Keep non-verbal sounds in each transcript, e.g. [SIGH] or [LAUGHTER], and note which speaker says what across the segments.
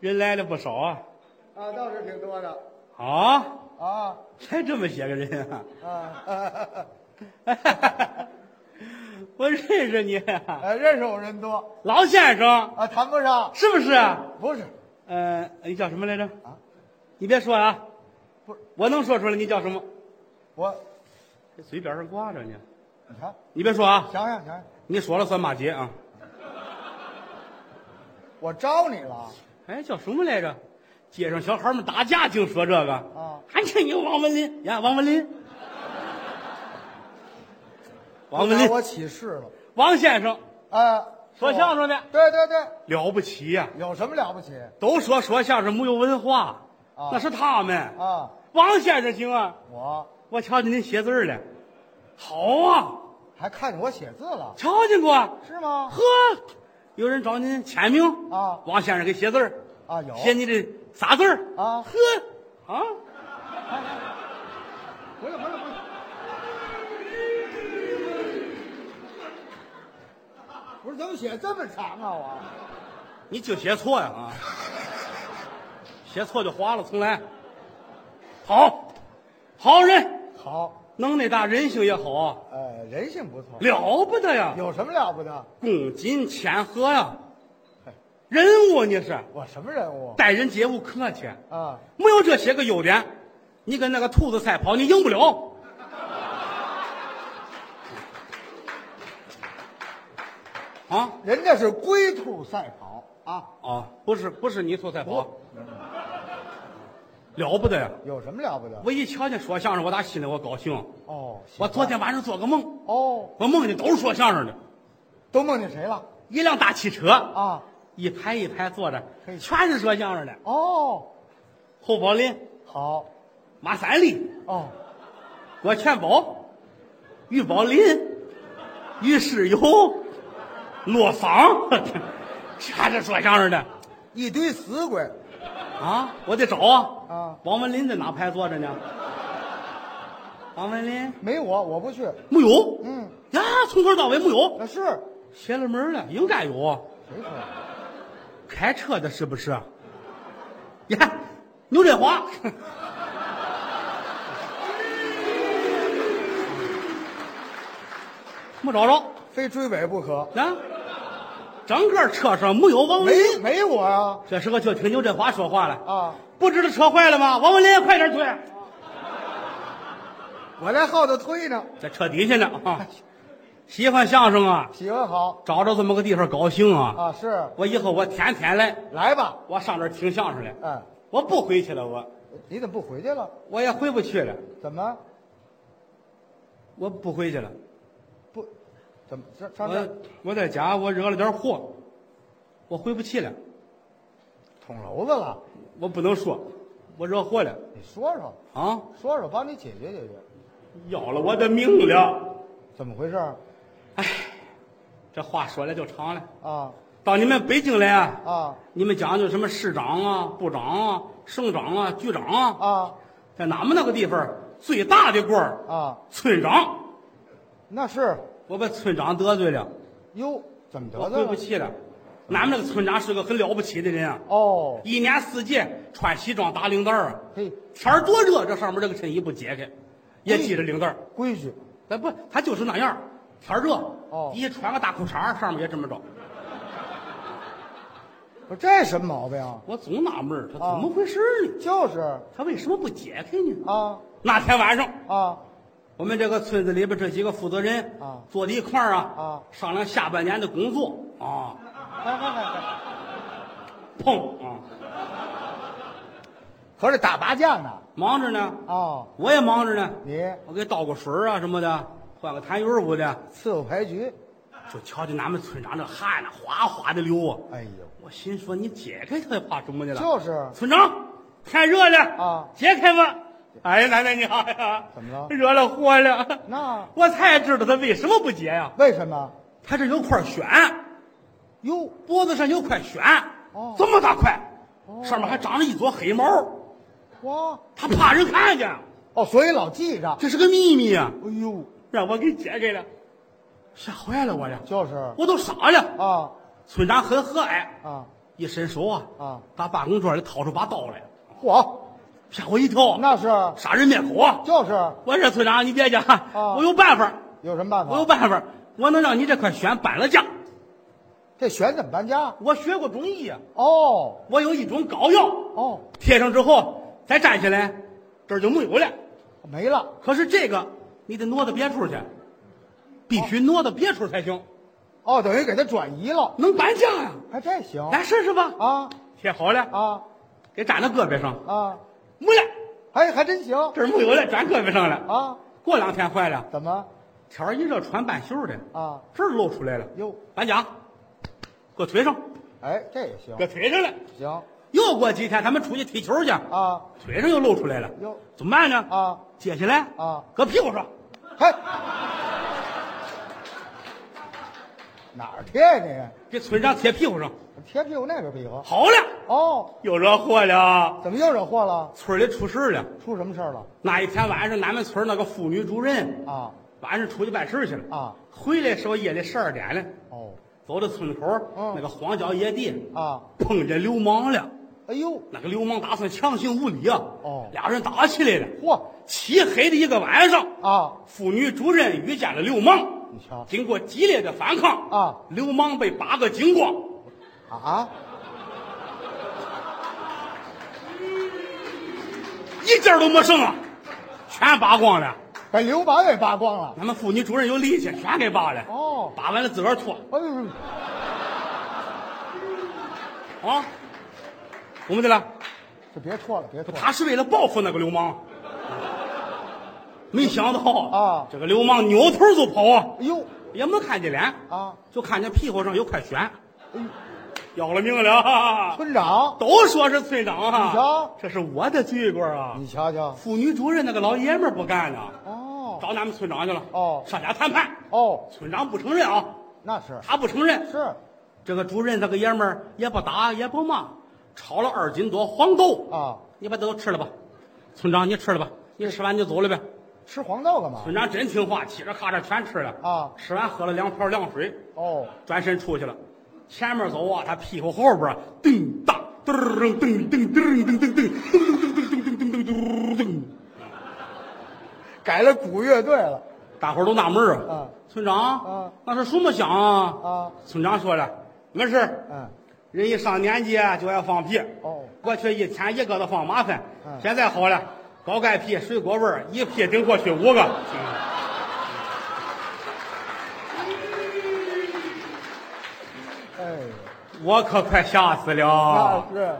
Speaker 1: 人来了不少啊！
Speaker 2: 啊，倒是挺多的
Speaker 1: 啊，
Speaker 2: 啊
Speaker 1: 才这么些个人啊！ [LAUGHS]
Speaker 2: 啊，
Speaker 1: 我认识你、啊
Speaker 2: 呃，认识我人多
Speaker 1: 老先生，
Speaker 2: 啊，谈不上，
Speaker 1: 是不是？
Speaker 2: 不是
Speaker 1: 呃，你叫什么来着？
Speaker 2: 啊，
Speaker 1: 你别说啊，
Speaker 2: 不是
Speaker 1: 我能说出来你叫什么？
Speaker 2: 我，
Speaker 1: 这嘴边上挂着呢。
Speaker 2: 你看，
Speaker 1: 你别说啊，
Speaker 2: 想想想想，
Speaker 1: 你说了算骂街啊！
Speaker 2: 我招你了
Speaker 1: 哎，叫什么来着？街上小孩们打架净说这个
Speaker 2: 啊，
Speaker 1: 还叫你王文林呀，王文 [LAUGHS] 林，王
Speaker 2: 不
Speaker 1: 文
Speaker 2: 敢
Speaker 1: 林，
Speaker 2: 我起誓了，
Speaker 1: 王先生
Speaker 2: 啊，
Speaker 1: 说相声
Speaker 2: 的
Speaker 1: 的，
Speaker 2: 对对对，
Speaker 1: 了不起呀、
Speaker 2: 有什么了不起
Speaker 1: 都说说相声没有文化，
Speaker 2: 啊
Speaker 1: 那是他们。
Speaker 2: 啊？
Speaker 1: 王先生行啊，
Speaker 2: 我
Speaker 1: 我瞧见您写字儿了，好啊，
Speaker 2: 还看见我写字了，
Speaker 1: 瞧见过，
Speaker 2: 是吗？
Speaker 1: 呵，有人找您签名
Speaker 2: 啊
Speaker 1: 王先生给写字儿，
Speaker 2: 啊，有
Speaker 1: 写你这仨字儿
Speaker 2: 啊
Speaker 1: 呵啊，
Speaker 2: 不是不是不是，不是怎么写这么长啊？
Speaker 1: 你就写错呀啊， [LAUGHS] 写错就划了，重来。好，好人，
Speaker 2: 我好，
Speaker 1: 能耐大，人性也好啊，
Speaker 2: 呃，人性不错，
Speaker 1: 了不得呀，
Speaker 2: [LAUGHS] 有什么了不得？
Speaker 1: 公瑾谦和呀
Speaker 2: 嘿，
Speaker 1: 人物你是
Speaker 2: 我什么人物
Speaker 1: 待人接物客气，
Speaker 2: 啊？
Speaker 1: 没有这些个优点，你跟那个兔子赛跑，你赢不了。啊
Speaker 2: 人家是龟兔赛跑啊，
Speaker 1: 啊，不是不是你兔赛跑，了不得呀！
Speaker 2: 有什么了不得？
Speaker 1: 我一瞧见说相声，我打心里我高兴。
Speaker 2: 哦，喜
Speaker 1: 我
Speaker 2: 欢
Speaker 1: 昨天晚上做个梦，
Speaker 2: 哦，
Speaker 1: 我梦见都是说相声的，
Speaker 2: 都梦见谁了
Speaker 1: 一辆大汽车，
Speaker 2: 啊？
Speaker 1: 一排一排坐着，
Speaker 2: 嘿
Speaker 1: 全是说相声的。
Speaker 2: 哦，
Speaker 1: 侯宝林、
Speaker 2: 好
Speaker 1: 马三立、
Speaker 2: 哦，
Speaker 1: 郭全宝、于宝林、于世友、骆 [LAUGHS] 桑，全是说相声的
Speaker 2: 一堆死鬼
Speaker 1: 啊！我得找啊！
Speaker 2: 啊，
Speaker 1: 王文林在哪排坐着呢？王文林
Speaker 2: 没我我不去，
Speaker 1: 没有，
Speaker 2: 嗯
Speaker 1: 呀，从头到尾没有，
Speaker 2: 那是
Speaker 1: 邪了门了，应该有啊。
Speaker 2: 谁说的？
Speaker 1: 开车的是不是？呀，牛振华，没找着。
Speaker 2: 非追尾不可，
Speaker 1: 啊，整个车上没有王文
Speaker 2: 没
Speaker 1: 林。
Speaker 2: 没我呀
Speaker 1: 这时候就听牛振华说话了，
Speaker 2: 啊！
Speaker 1: 不知道车坏了吗？王文林，快点推！
Speaker 2: 我在后头推呢，
Speaker 1: 在车底下呢啊！喜欢相声啊，
Speaker 2: 喜欢好
Speaker 1: 找着这么个地方高兴啊！
Speaker 2: 啊，是
Speaker 1: 我以后我天天来，
Speaker 2: 来吧，
Speaker 1: 我上这儿听相声来。
Speaker 2: 嗯，
Speaker 1: 我不回去了，我
Speaker 2: 你怎么不回去了？
Speaker 1: 我也回不去了，
Speaker 2: 怎么
Speaker 1: 我不回去了。
Speaker 2: 不？怎么上上这
Speaker 1: 我
Speaker 2: 儿
Speaker 1: 我在家我惹了点祸，我回不去了，
Speaker 2: 捅娄子了？
Speaker 1: 我不能说，我惹祸了
Speaker 2: 你说说
Speaker 1: 啊，
Speaker 2: 说说，帮你解决解决，
Speaker 1: 要了我的命了。哎
Speaker 2: 怎么回事儿
Speaker 1: 这话说来就长了。
Speaker 2: 啊
Speaker 1: 到你们北京来啊，
Speaker 2: 啊
Speaker 1: 你们讲究什么市长啊、部长啊、省长啊、局长啊，
Speaker 2: 啊
Speaker 1: 在俺们那个地方最大的官儿，
Speaker 2: 啊！
Speaker 1: 村长。
Speaker 2: 那是
Speaker 1: 我把村长得罪了，
Speaker 2: 哟，怎么
Speaker 1: 我
Speaker 2: 得
Speaker 1: 回
Speaker 2: 罪了
Speaker 1: 哦不？去了。俺们那个村长是个很了不起的人啊，
Speaker 2: 哦，
Speaker 1: 一年四季穿西装打领带儿啊，
Speaker 2: 嘿，
Speaker 1: 天儿多热，这上面这个衬衣不解开，也系着领带儿。
Speaker 2: 规矩
Speaker 1: 咱不，他就是那样儿，天儿热，
Speaker 2: 哦
Speaker 1: 一穿个大裤衩儿上面也这么着。
Speaker 2: 不是这什么毛病啊？
Speaker 1: 我总纳闷儿，他怎
Speaker 2: 啊
Speaker 1: 么回事儿呢？
Speaker 2: 就是
Speaker 1: 他为什么不解开呢？
Speaker 2: 啊
Speaker 1: 那天晚上，
Speaker 2: 啊
Speaker 1: 我们这个村子里边这几个负责人
Speaker 2: 啊
Speaker 1: 坐在一块儿啊
Speaker 2: 啊
Speaker 1: 商量下半年的工作啊，
Speaker 2: 来来来来，
Speaker 1: 砰啊，
Speaker 2: 合着打麻将呢？
Speaker 1: 忙着呢，
Speaker 2: 哦，
Speaker 1: 我也忙着呢，
Speaker 2: 你
Speaker 1: 我给倒个水儿啊什么的，换个痰盂儿捂的，
Speaker 2: 伺候牌局？
Speaker 1: 就瞧见咱们村长这汗呐哗哗的流啊，
Speaker 2: 哎呦，
Speaker 1: 我心说你解开他怕什么去了？
Speaker 2: 就是
Speaker 1: 村长，天热了
Speaker 2: 啊
Speaker 1: 解开吧。哎呀，奶奶你好呀！
Speaker 2: 怎么了
Speaker 1: 惹了祸了。
Speaker 2: 那
Speaker 1: 我才知道他为什么不解呀、
Speaker 2: 为什么？
Speaker 1: 他这有块癣，
Speaker 2: 哟，
Speaker 1: 脖子上有块癣，
Speaker 2: 哦
Speaker 1: 这么大块，
Speaker 2: 哦
Speaker 1: 上面还长着一撮黑毛，
Speaker 2: 哇，
Speaker 1: 他怕人看见，
Speaker 2: 哦，所以老记着。
Speaker 1: 这是个秘密呀、
Speaker 2: 哎呦，
Speaker 1: 让我给解开了，吓坏了我呀，
Speaker 2: 就是
Speaker 1: 我都傻了。
Speaker 2: 啊
Speaker 1: 村长很和蔼，
Speaker 2: 啊，
Speaker 1: 一伸手啊，
Speaker 2: 啊，
Speaker 1: 打办公桌里掏出把刀来，
Speaker 2: 嚯，
Speaker 1: 吓我一跳，
Speaker 2: 那是
Speaker 1: 杀人灭口啊！
Speaker 2: 就是
Speaker 1: 我说村长，你别介啊，
Speaker 2: 啊
Speaker 1: 我有办法，
Speaker 2: 有什么办
Speaker 1: 我有
Speaker 2: 法？
Speaker 1: 办法，我能让你这块选搬了家。
Speaker 2: 这选怎么搬家？
Speaker 1: 我学过中医呀、
Speaker 2: 哦
Speaker 1: 我有一种膏药，
Speaker 2: 哦，
Speaker 1: 贴上之后再站起来，这儿就没有了。
Speaker 2: 没了，
Speaker 1: 可是这个你得挪到别处去，必须挪到别处才行，
Speaker 2: 哦，等于给他转移了，
Speaker 1: 能搬家呀、
Speaker 2: 还这行
Speaker 1: 来试试吧。
Speaker 2: 啊
Speaker 1: 贴好了，
Speaker 2: 啊
Speaker 1: 给粘到胳膊上，
Speaker 2: 啊，哎
Speaker 1: 没了，
Speaker 2: 还还真行
Speaker 1: 这儿没有了，粘胳膊上了。
Speaker 2: 啊？
Speaker 1: 过两天坏了，
Speaker 2: 怎么
Speaker 1: 天儿一热穿半袖的，
Speaker 2: 啊？
Speaker 1: 这儿露出来了，
Speaker 2: 哟，
Speaker 1: 搬家，搁腿上，
Speaker 2: 哎，这也行
Speaker 1: 搁腿上了。
Speaker 2: 行
Speaker 1: 又过几天，他们出去踢球去，
Speaker 2: 啊
Speaker 1: 腿上又露出来了，
Speaker 2: 哟
Speaker 1: 怎么办呢？
Speaker 2: 啊，
Speaker 1: 解下来
Speaker 2: 啊，
Speaker 1: 搁屁股上，
Speaker 2: 嘿，哪儿贴呀
Speaker 1: 给村长贴屁股上。
Speaker 2: 你？贴屁股那个屁股？
Speaker 1: 好了，
Speaker 2: 哦，
Speaker 1: 又惹祸了，
Speaker 2: 怎么又惹祸了？
Speaker 1: 村里出事了。
Speaker 2: 出什么事儿了？
Speaker 1: 那一天晚上，俺们村那个妇女主任
Speaker 2: 啊
Speaker 1: 晚上出去办事去了，
Speaker 2: 啊
Speaker 1: 回来时候夜里十二点了，
Speaker 2: 哦
Speaker 1: 走到村口、
Speaker 2: 嗯
Speaker 1: 那个荒郊野地，
Speaker 2: 啊，
Speaker 1: 碰见流氓了。
Speaker 2: 哎呦，
Speaker 1: 那个流氓打算强行无理啊！
Speaker 2: 哦
Speaker 1: 俩人打起来了。
Speaker 2: 嚯
Speaker 1: 漆黑的一个晚上，
Speaker 2: 啊，
Speaker 1: 妇女主任遇见了流氓，
Speaker 2: 你瞧
Speaker 1: 经过激烈的反抗
Speaker 2: 啊，
Speaker 1: 流氓被扒个精光。
Speaker 2: 啊，
Speaker 1: 一件都没剩啊，全扒光了。
Speaker 2: 把刘氓给扒光了。
Speaker 1: 咱们妇女主任有力气，全给扒了。
Speaker 2: 哦
Speaker 1: 扒完了自个儿脱
Speaker 2: 哎呦，
Speaker 1: 啊，我们的了。
Speaker 2: 这别错了，别错了。
Speaker 1: 他是为了报复那个流氓，没想到
Speaker 2: 啊
Speaker 1: 这个流氓扭头就跑啊，
Speaker 2: 哎呦
Speaker 1: 也没看见脸，
Speaker 2: 啊，
Speaker 1: 就看见屁股上有块旋，
Speaker 2: 哎呦，
Speaker 1: 要了命了啊！
Speaker 2: 村长，
Speaker 1: 都说是村长
Speaker 2: 你
Speaker 1: 啊
Speaker 2: 瞧，
Speaker 1: 这是我的罪过啊！
Speaker 2: 你瞧瞧，
Speaker 1: 妇女主任那个老爷们儿不干了，
Speaker 2: 哦
Speaker 1: 找咱们村长去了。
Speaker 2: 哦
Speaker 1: 上家谈判，
Speaker 2: 哦，
Speaker 1: 村长不承认啊，
Speaker 2: 那是
Speaker 1: 他不承认。
Speaker 2: 是
Speaker 1: 这个主任那个爷们儿也不打也不骂，炒了二斤多黄豆，
Speaker 2: 啊，
Speaker 1: 你把它都吃了吧。村长，你吃了吧，你吃完就走了呗。
Speaker 2: 吃黄豆干嘛？
Speaker 1: 村长真听话，嘁着咔着全吃了
Speaker 2: 啊
Speaker 1: 吃完喝了两瓢凉水，
Speaker 2: 哦，
Speaker 1: 转身出去了。前面走啊，他屁股后边啊叮当噔噔噔噔噔噔噔噔噔噔噔噔噔噔噔噔，
Speaker 2: 改了鼓乐队了
Speaker 1: 大伙儿都纳闷儿
Speaker 2: 啊。
Speaker 1: 村长
Speaker 2: 啊，
Speaker 1: 那是什么响啊？
Speaker 2: 啊，
Speaker 1: 村长说了，没事儿，
Speaker 2: 嗯，
Speaker 1: 人一上年纪啊就爱放屁。
Speaker 2: 哦，
Speaker 1: 过去一天一个都放麻烦，
Speaker 2: 嗯
Speaker 1: 现在好了，高钙屁、水果味儿，一屁顶过去五个。
Speaker 2: 哎，
Speaker 1: 我可快吓死了
Speaker 2: 那，是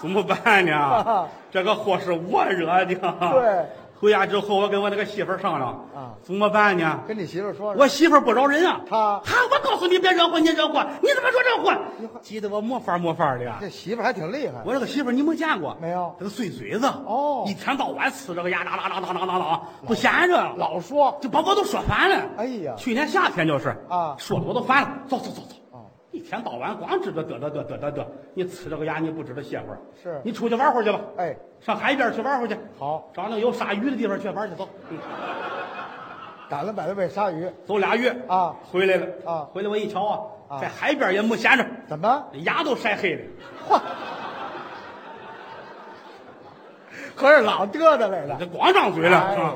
Speaker 1: 怎么办呢
Speaker 2: [LAUGHS] 啊？
Speaker 1: 这个祸是我惹的。
Speaker 2: 对，
Speaker 1: 回家之后我跟我那个媳妇儿商量，
Speaker 2: 啊
Speaker 1: 怎么办呢？
Speaker 2: 跟你媳妇说说
Speaker 1: 我媳妇儿不饶人啊，
Speaker 2: 她
Speaker 1: 哈，我告诉你别惹祸，你惹祸，你怎么说惹
Speaker 2: 你
Speaker 1: 祸？
Speaker 2: 还
Speaker 1: 急得我没法没法的。
Speaker 2: 这媳妇还挺厉害
Speaker 1: 我这个媳妇儿你没见过？
Speaker 2: 没有
Speaker 1: 这个碎嘴子
Speaker 2: 哦
Speaker 1: 一天到晚呲这个牙，哒哒哒哒哒哒哒，不闲着，
Speaker 2: 老说
Speaker 1: 就把我都说烦了。
Speaker 2: 哎呀
Speaker 1: 去年夏天就是
Speaker 2: 啊
Speaker 1: 说的我都烦了。走走走走，
Speaker 2: 哦
Speaker 1: 一天到晚光知道嘚嘚嘚嘚嘚嘚，你呲这个牙你不知道歇会儿。
Speaker 2: 是
Speaker 1: 你出去玩会儿去吧。
Speaker 2: 哎，
Speaker 1: 上海边去玩会儿去。
Speaker 2: 好，
Speaker 1: 找那有杀鱼的地方去玩去。走，嗯
Speaker 2: 赶了百多尾鲨鱼，
Speaker 1: 走俩月
Speaker 2: 啊，
Speaker 1: 回来了
Speaker 2: 啊
Speaker 1: 回来我一瞧啊，
Speaker 2: 啊
Speaker 1: 在海边也没闲着，
Speaker 2: 怎么？
Speaker 1: 牙都晒黑了。
Speaker 2: 嚯，合着老嘚嘚来了
Speaker 1: 这光张嘴了
Speaker 2: 哎
Speaker 1: 啊！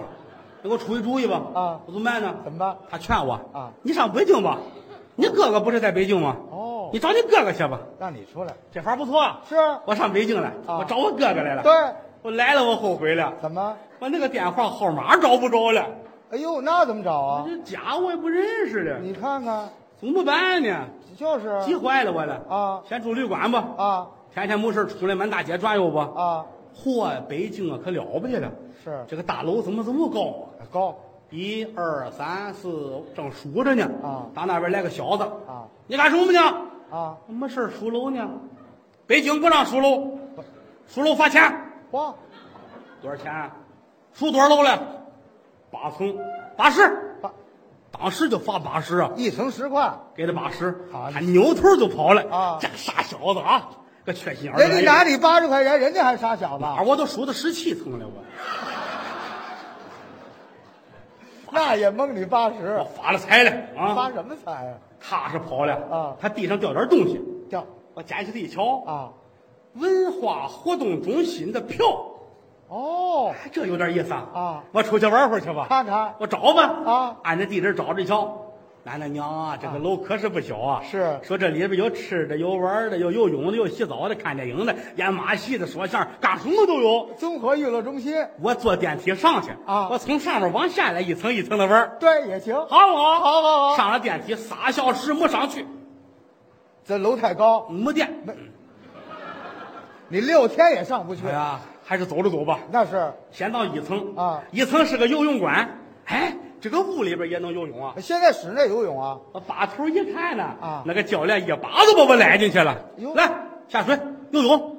Speaker 1: 你给我出一主意吧！
Speaker 2: 啊
Speaker 1: 我怎么办呢？
Speaker 2: 怎么办
Speaker 1: 他劝我
Speaker 2: 啊
Speaker 1: 你上北京吧，你哥哥不是在北京吗？
Speaker 2: 哦
Speaker 1: 你找你哥哥去吧，
Speaker 2: 让你出来
Speaker 1: 这法不错啊。
Speaker 2: 是
Speaker 1: 我上北京了，
Speaker 2: 啊
Speaker 1: 我找我哥哥来了。
Speaker 2: 对，
Speaker 1: 我来了，我后悔了，
Speaker 2: 怎么？
Speaker 1: 我那个电话号码找不着了，
Speaker 2: 哎呦，那怎么找啊？
Speaker 1: 这假我也不认识了，
Speaker 2: 你看看，
Speaker 1: 怎么办呢？
Speaker 2: 就是
Speaker 1: 急坏了我了
Speaker 2: 啊
Speaker 1: 先住旅馆吧，
Speaker 2: 啊
Speaker 1: 天天没事出来满大街转悠吧。
Speaker 2: 啊，
Speaker 1: 嚯，北京啊可了不起了，
Speaker 2: 是
Speaker 1: 这个大楼怎么这么高啊？
Speaker 2: 高
Speaker 1: 一二三四，正数着呢。
Speaker 2: 啊
Speaker 1: 打那边来个小子，
Speaker 2: 啊
Speaker 1: 你干什么呢？
Speaker 2: 啊，
Speaker 1: 没事儿数楼呢。北京不让数楼，数楼罚钱。
Speaker 2: 哇，
Speaker 1: 多少钱啊？数多少楼了？八层，八十。
Speaker 2: 八
Speaker 1: 当时就罚八十啊，
Speaker 2: 一层十块，
Speaker 1: 给他八十，
Speaker 2: 好
Speaker 1: 他扭头就跑了。
Speaker 2: 啊
Speaker 1: 这个傻小子啊，个缺心眼儿的。
Speaker 2: 人家拿你八十块钱，人家还傻小子，
Speaker 1: 啊，我都数到十七层了，我
Speaker 2: 那也蒙你八
Speaker 1: 我
Speaker 2: 十，
Speaker 1: 发了财了啊！
Speaker 2: 发什么财呀？
Speaker 1: 踏实跑了
Speaker 2: 啊
Speaker 1: 他地上掉点东西，
Speaker 2: 掉，
Speaker 1: 我捡起来一瞧，
Speaker 2: 啊，
Speaker 1: 文化活动中心的票，
Speaker 2: 哦，
Speaker 1: 哎这有点意思啊！
Speaker 2: 啊
Speaker 1: 我出去玩会儿去吧，
Speaker 2: 看看
Speaker 1: 我找吧。
Speaker 2: 啊
Speaker 1: 按着地址找着一瞧，奶奶娘啊，这个楼可是不小啊。
Speaker 2: 是
Speaker 1: 说这里边有吃的，有玩的，有游泳的，有洗澡的，看电影的，演马戏的，说相声，干什么都有。
Speaker 2: 综合娱乐中心，
Speaker 1: 我坐电梯上去
Speaker 2: 啊
Speaker 1: 我从上面往下来，一层一层的玩，
Speaker 2: 对，也行。
Speaker 1: 好不好？
Speaker 2: 好好好
Speaker 1: 上了电梯，仨小时没上去，
Speaker 2: 这楼太高，
Speaker 1: 没电。
Speaker 2: 你六天也上不去
Speaker 1: 哎。呀，还是走着走吧。
Speaker 2: 那是
Speaker 1: 先到一层
Speaker 2: 啊
Speaker 1: 一层是个游泳馆。哎，这个屋里边也能游泳啊！
Speaker 2: 现在室内游泳啊，
Speaker 1: 我把头一看呢，
Speaker 2: 啊
Speaker 1: 那个教练一把就把我揽进去了
Speaker 2: 哟。
Speaker 1: 来，下水游泳。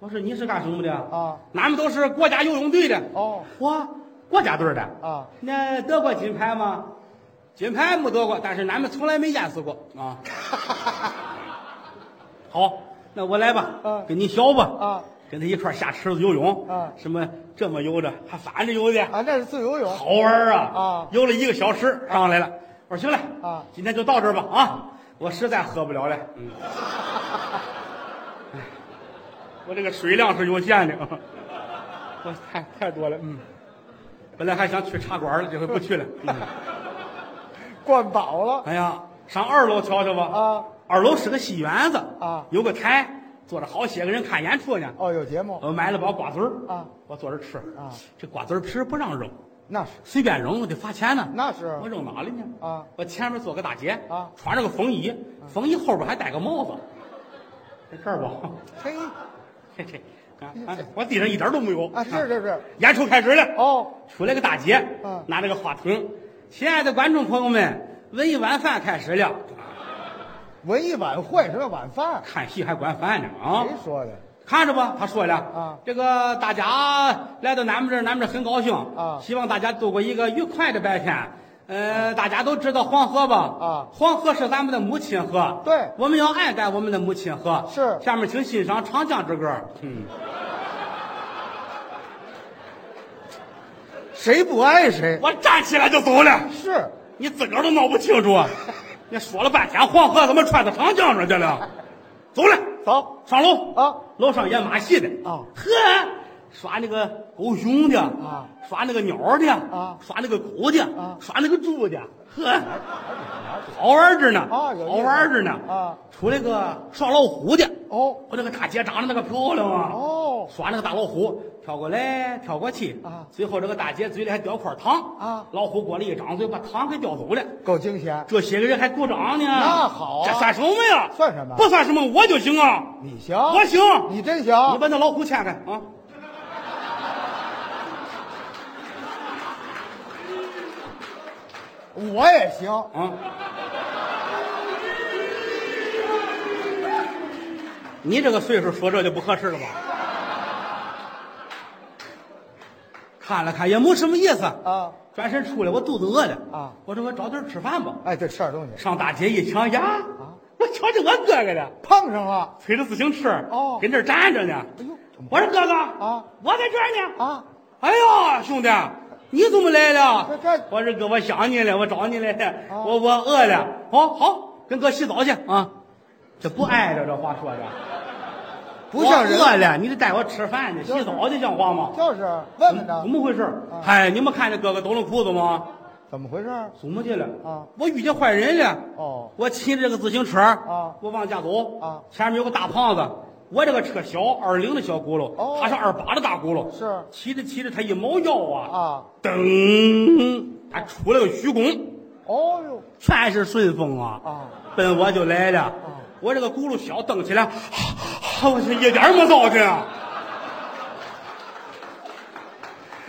Speaker 1: 我说你是干什么的
Speaker 2: 啊？
Speaker 1: 俺们都是国家游泳队的。
Speaker 2: 哦，
Speaker 1: 我国家队的
Speaker 2: 啊。
Speaker 1: 那得过金牌吗？金牌没得过，但是俺们从来没淹死过啊。 [LAUGHS] 好，那我来吧，
Speaker 2: 嗯
Speaker 1: 跟你学吧，
Speaker 2: 啊，
Speaker 1: 跟他一块儿下池子游泳，
Speaker 2: 嗯
Speaker 1: 什么这么游着，还反着游的，
Speaker 2: 啊，那是自由泳。
Speaker 1: 好玩儿啊！
Speaker 2: 啊
Speaker 1: 游了一个小时上来了，我说行了
Speaker 2: 啊
Speaker 1: 今天就到这儿吧啊！我实在喝不了了，嗯， [LAUGHS] 我这个水量是有限的，啊我太太多了，嗯。本来还想去茶馆了，这回不去了。嗯
Speaker 2: 灌饱了
Speaker 1: 哎呀，上二楼瞧瞧吧。
Speaker 2: 啊！
Speaker 1: 二楼是个戏园子
Speaker 2: 啊
Speaker 1: 有个台，坐着好些个人看演出呢。
Speaker 2: 哦，有节目
Speaker 1: 我买了包瓜子儿
Speaker 2: 啊，
Speaker 1: 我坐着吃
Speaker 2: 啊。
Speaker 1: 这瓜子儿皮儿不让扔，
Speaker 2: 那是
Speaker 1: 随便扔我得罚钱呢。
Speaker 2: 那是
Speaker 1: 我扔哪里呢？
Speaker 2: 啊，
Speaker 1: 我前面坐个大姐
Speaker 2: 啊
Speaker 1: 穿着个风衣，风衣后边还戴个帽子，在这儿不？
Speaker 2: 嘿
Speaker 1: [LAUGHS] 嘿嘿，啊啊我地上一点都没有
Speaker 2: 啊，是是是，
Speaker 1: 演出开始了。
Speaker 2: 哦，
Speaker 1: 出来个大姐，
Speaker 2: 嗯
Speaker 1: 拿着个话筒，亲爱的观众朋友们，文艺晚饭开始了，
Speaker 2: 文艺晚会什么晚饭？
Speaker 1: 看戏还管饭呢啊！
Speaker 2: 谁说的？
Speaker 1: 看着吧，他说了，
Speaker 2: 啊
Speaker 1: 这个大家来到咱们这儿，咱们这儿很高兴
Speaker 2: 啊
Speaker 1: 希望大家度过一个愉快的白天。呃，大家都知道黄河吧？
Speaker 2: 啊
Speaker 1: 黄河是咱们的母亲河。
Speaker 2: 对
Speaker 1: 我们要爱戴我们的母亲河。
Speaker 2: 是
Speaker 1: 下面请欣赏《长江之歌》。嗯，
Speaker 2: 谁不爱谁？
Speaker 1: 我站起来就走了，
Speaker 2: 是
Speaker 1: 你自个儿都闹不清楚。啊你说了半天黄河，怎么串到长江上去了？走了，
Speaker 2: 走
Speaker 1: 上楼
Speaker 2: 啊！
Speaker 1: 楼上演马戏的
Speaker 2: 啊
Speaker 1: 呵，耍那个狗熊的
Speaker 2: 啊，
Speaker 1: 耍那个鸟的
Speaker 2: 啊
Speaker 1: 耍那个狗的
Speaker 2: 啊
Speaker 1: 耍那个猪的，呵，好玩着呢
Speaker 2: 啊有意
Speaker 1: 好
Speaker 2: 思
Speaker 1: 玩着呢
Speaker 2: 啊！
Speaker 1: 出来个耍老虎的，
Speaker 2: 哦
Speaker 1: 我那个大姐长得那个漂亮啊，
Speaker 2: 哦
Speaker 1: 耍那个大老虎，跳过来跳过去
Speaker 2: 啊
Speaker 1: 最后这个大姐嘴里还叼块糖
Speaker 2: 啊
Speaker 1: 老虎过来一张嘴把糖给叼走了。
Speaker 2: 够惊险，
Speaker 1: 这些个人还鼓掌呢，
Speaker 2: 那好啊
Speaker 1: 这算什么呀？
Speaker 2: 算什么啊
Speaker 1: 不算什么，我就行啊，
Speaker 2: 你行，
Speaker 1: 我行，
Speaker 2: 你真行，
Speaker 1: 你把那老虎牵开啊！
Speaker 2: 我也行，
Speaker 1: 啊！你这个岁数说这就不合适了吧？看了看也没什么意思
Speaker 2: 啊。
Speaker 1: 转身出来，我肚子饿了
Speaker 2: 啊！
Speaker 1: 我说我找地儿吃饭吧。
Speaker 2: 哎，对，吃点东西，
Speaker 1: 上大街一瞧呀，
Speaker 2: 啊
Speaker 1: 我瞧见我哥哥了，
Speaker 2: 碰上了，
Speaker 1: 推着自行车
Speaker 2: 哦
Speaker 1: 跟这儿站着呢。
Speaker 2: 哎呦，
Speaker 1: 我说哥哥
Speaker 2: 啊，
Speaker 1: 我在这儿呢。
Speaker 2: 啊，
Speaker 1: 哎呀，兄弟，你怎么来了？
Speaker 2: 这这
Speaker 1: 我说哥，我想你了，我找你来了，[LAUGHS]
Speaker 2: 啊
Speaker 1: 我我饿了。哦，好，跟哥洗澡去啊。这不挨着，这话说的
Speaker 2: 不像人
Speaker 1: 我，饿了，你得带我吃饭去，
Speaker 2: 就是
Speaker 1: 洗澡去，像话吗？
Speaker 2: 就是问问他
Speaker 1: 怎么回事？
Speaker 2: 啊
Speaker 1: 嗨，你们看见哥哥抖了裤子吗？
Speaker 2: 怎么回事？
Speaker 1: 怎么去了？
Speaker 2: 啊，
Speaker 1: 我遇见坏人了。
Speaker 2: 哦，
Speaker 1: 我骑着这个自行车
Speaker 2: 啊
Speaker 1: 我往家走
Speaker 2: 啊
Speaker 1: 前面有个大胖子，我这个车小二零的小轱辘，
Speaker 2: 哦
Speaker 1: 他是二八的大轱辘，
Speaker 2: 是
Speaker 1: 骑着骑着他一猫腰啊，
Speaker 2: 啊，
Speaker 1: 噔，他出来个虚拱，
Speaker 2: 哦呦，
Speaker 1: 全是顺风啊，
Speaker 2: 啊，
Speaker 1: 奔我就来了，我这个轱辘小蹬起来， [SIGHS] 啊啊我去一点儿没糟践啊，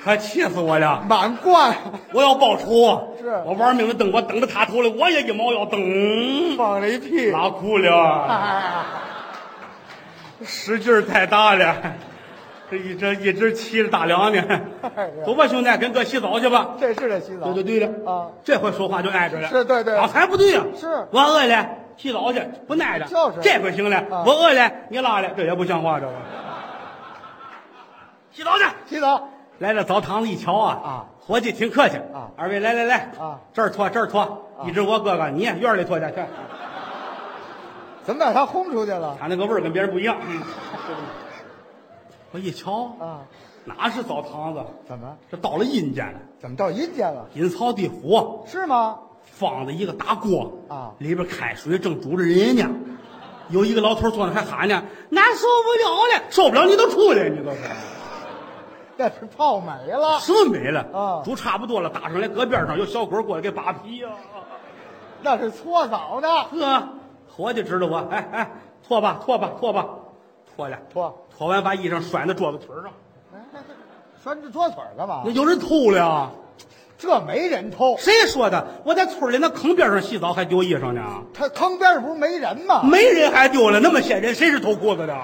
Speaker 1: 可气死我了。
Speaker 2: 满贯，
Speaker 1: 我要报仇！啊
Speaker 2: 是
Speaker 1: 我玩命的蹬，我蹬到他头来，我也一猫腰蹬，
Speaker 2: 放了一屁，
Speaker 1: 拉裤了，
Speaker 2: 哎，
Speaker 1: 使劲儿太大了，这一这一直骑着大梁呢
Speaker 2: 哎呀。
Speaker 1: 走吧，兄弟，跟哥洗澡去吧。
Speaker 2: 这是得洗澡
Speaker 1: 对，对对了
Speaker 2: 啊，
Speaker 1: 这回说话就挨着了。
Speaker 2: 是对对
Speaker 1: 刚才不对呀。
Speaker 2: 是
Speaker 1: 我饿了，洗澡去，不耐着。
Speaker 2: 就是
Speaker 1: 这回行了
Speaker 2: 啊，
Speaker 1: 我饿了，你拉了，这也不像话，这个。洗澡去。
Speaker 2: 洗澡，
Speaker 1: 来到澡堂子一瞧啊
Speaker 2: 啊，
Speaker 1: 伙计挺客气
Speaker 2: 啊
Speaker 1: 二位来来来
Speaker 2: 啊，
Speaker 1: 这儿脱这儿脱，一直我哥哥你院里脱去去，
Speaker 2: 怎么把他轰出去了？
Speaker 1: 他那个味儿跟别人不一样。嗯我一瞧，
Speaker 2: 啊，
Speaker 1: 哪是澡堂子，
Speaker 2: 怎么
Speaker 1: 这到了阴间了，
Speaker 2: 怎么到阴间了？
Speaker 1: 阴曹地府啊
Speaker 2: 是吗？
Speaker 1: 放着一个大锅
Speaker 2: 啊
Speaker 1: 里边开水正煮着人呢。有一个老头坐那还喊呢：“俺受不了了，受不了你都出来，你都是
Speaker 2: 那是泡没了，
Speaker 1: 什么没了
Speaker 2: 啊
Speaker 1: 煮差不多了，打上来搁边上，有小鬼过来给扒皮呀、
Speaker 2: 啊那是搓澡呢。
Speaker 1: 呵，伙计知道我，哎哎，脱吧脱吧脱吧，脱了
Speaker 2: 搓，
Speaker 1: 脱完把衣裳甩在桌子腿上，
Speaker 2: 啊拴着桌腿儿干嘛
Speaker 1: 那？有人偷了呀？
Speaker 2: 哦这没人偷，
Speaker 1: 谁说的？我在村里那坑边上洗澡还丢衣裳呢，
Speaker 2: 他坑边儿不是没人吗？
Speaker 1: 没人还丢了，那么些人谁是偷裤子的？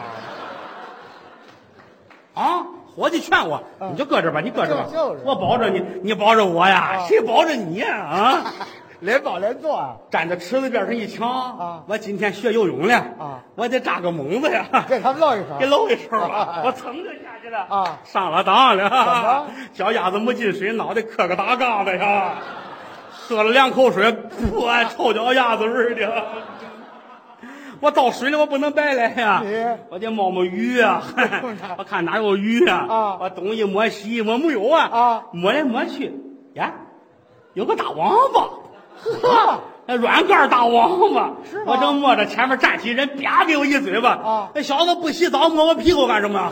Speaker 1: 啊！伙计劝我，
Speaker 2: 嗯
Speaker 1: 你就搁这儿吧，你搁这儿吧，
Speaker 2: 就就是
Speaker 1: 我保着你，你保着我呀，
Speaker 2: 啊
Speaker 1: 谁保着你呀？啊！ [LAUGHS]
Speaker 2: 连保连坐啊，
Speaker 1: 站在池子边上一瞧，
Speaker 2: 啊
Speaker 1: 我今天学游泳了，
Speaker 2: 啊
Speaker 1: 我得扎个猛子呀，
Speaker 2: [LAUGHS] 这他们露一手
Speaker 1: 给。搂一手啊
Speaker 2: 啊！
Speaker 1: 我蹭就下去了
Speaker 2: 啊
Speaker 1: 上了当了。
Speaker 2: 么
Speaker 1: 脚丫子没进水，脑袋磕个大杠子呀，啊喝了两口水，噗，哎臭脚丫子味儿的。我到水里我不能白来呀
Speaker 2: 你，
Speaker 1: 我得摸摸鱼
Speaker 2: [LAUGHS]
Speaker 1: 啊， [LAUGHS] 我看哪有鱼啊，
Speaker 2: 啊
Speaker 1: 我东一摸西一摸没有啊，
Speaker 2: 啊
Speaker 1: 摸来摸去，呀，有个大王八，
Speaker 2: 呵，
Speaker 1: 那软盖大王八，
Speaker 2: 是吗
Speaker 1: 我正摸着前面站起人，啪给我一嘴巴。
Speaker 2: 啊
Speaker 1: 那小子不洗澡摸我屁股干什么？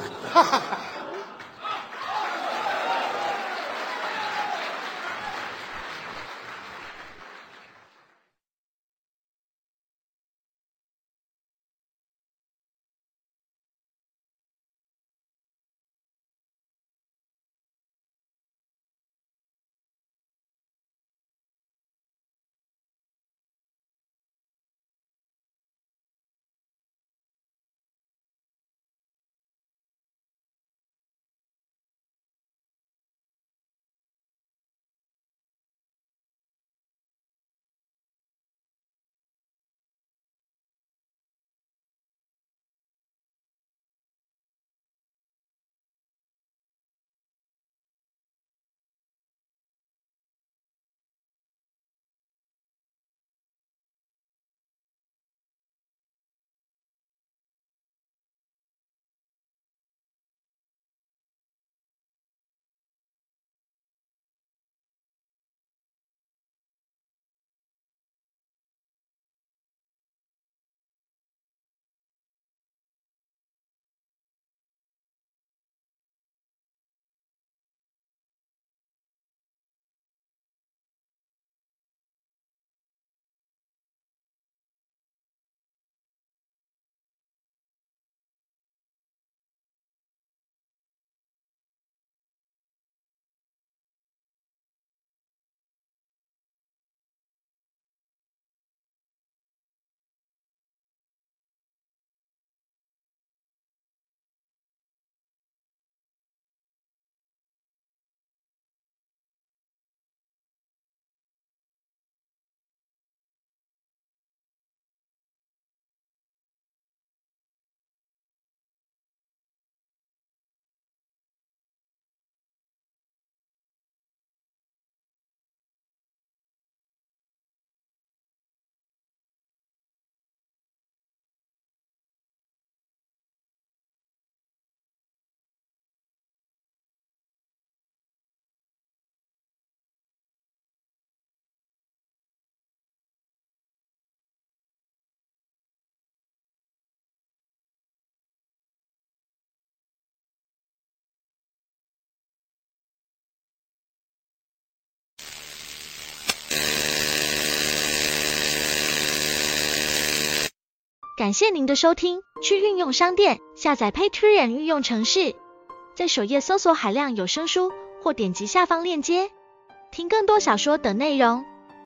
Speaker 3: 感谢您的收听，去运用商店下载 Patreon 运用城市，在首页搜索海量有声书，或点击下方链接听更多小说等内容。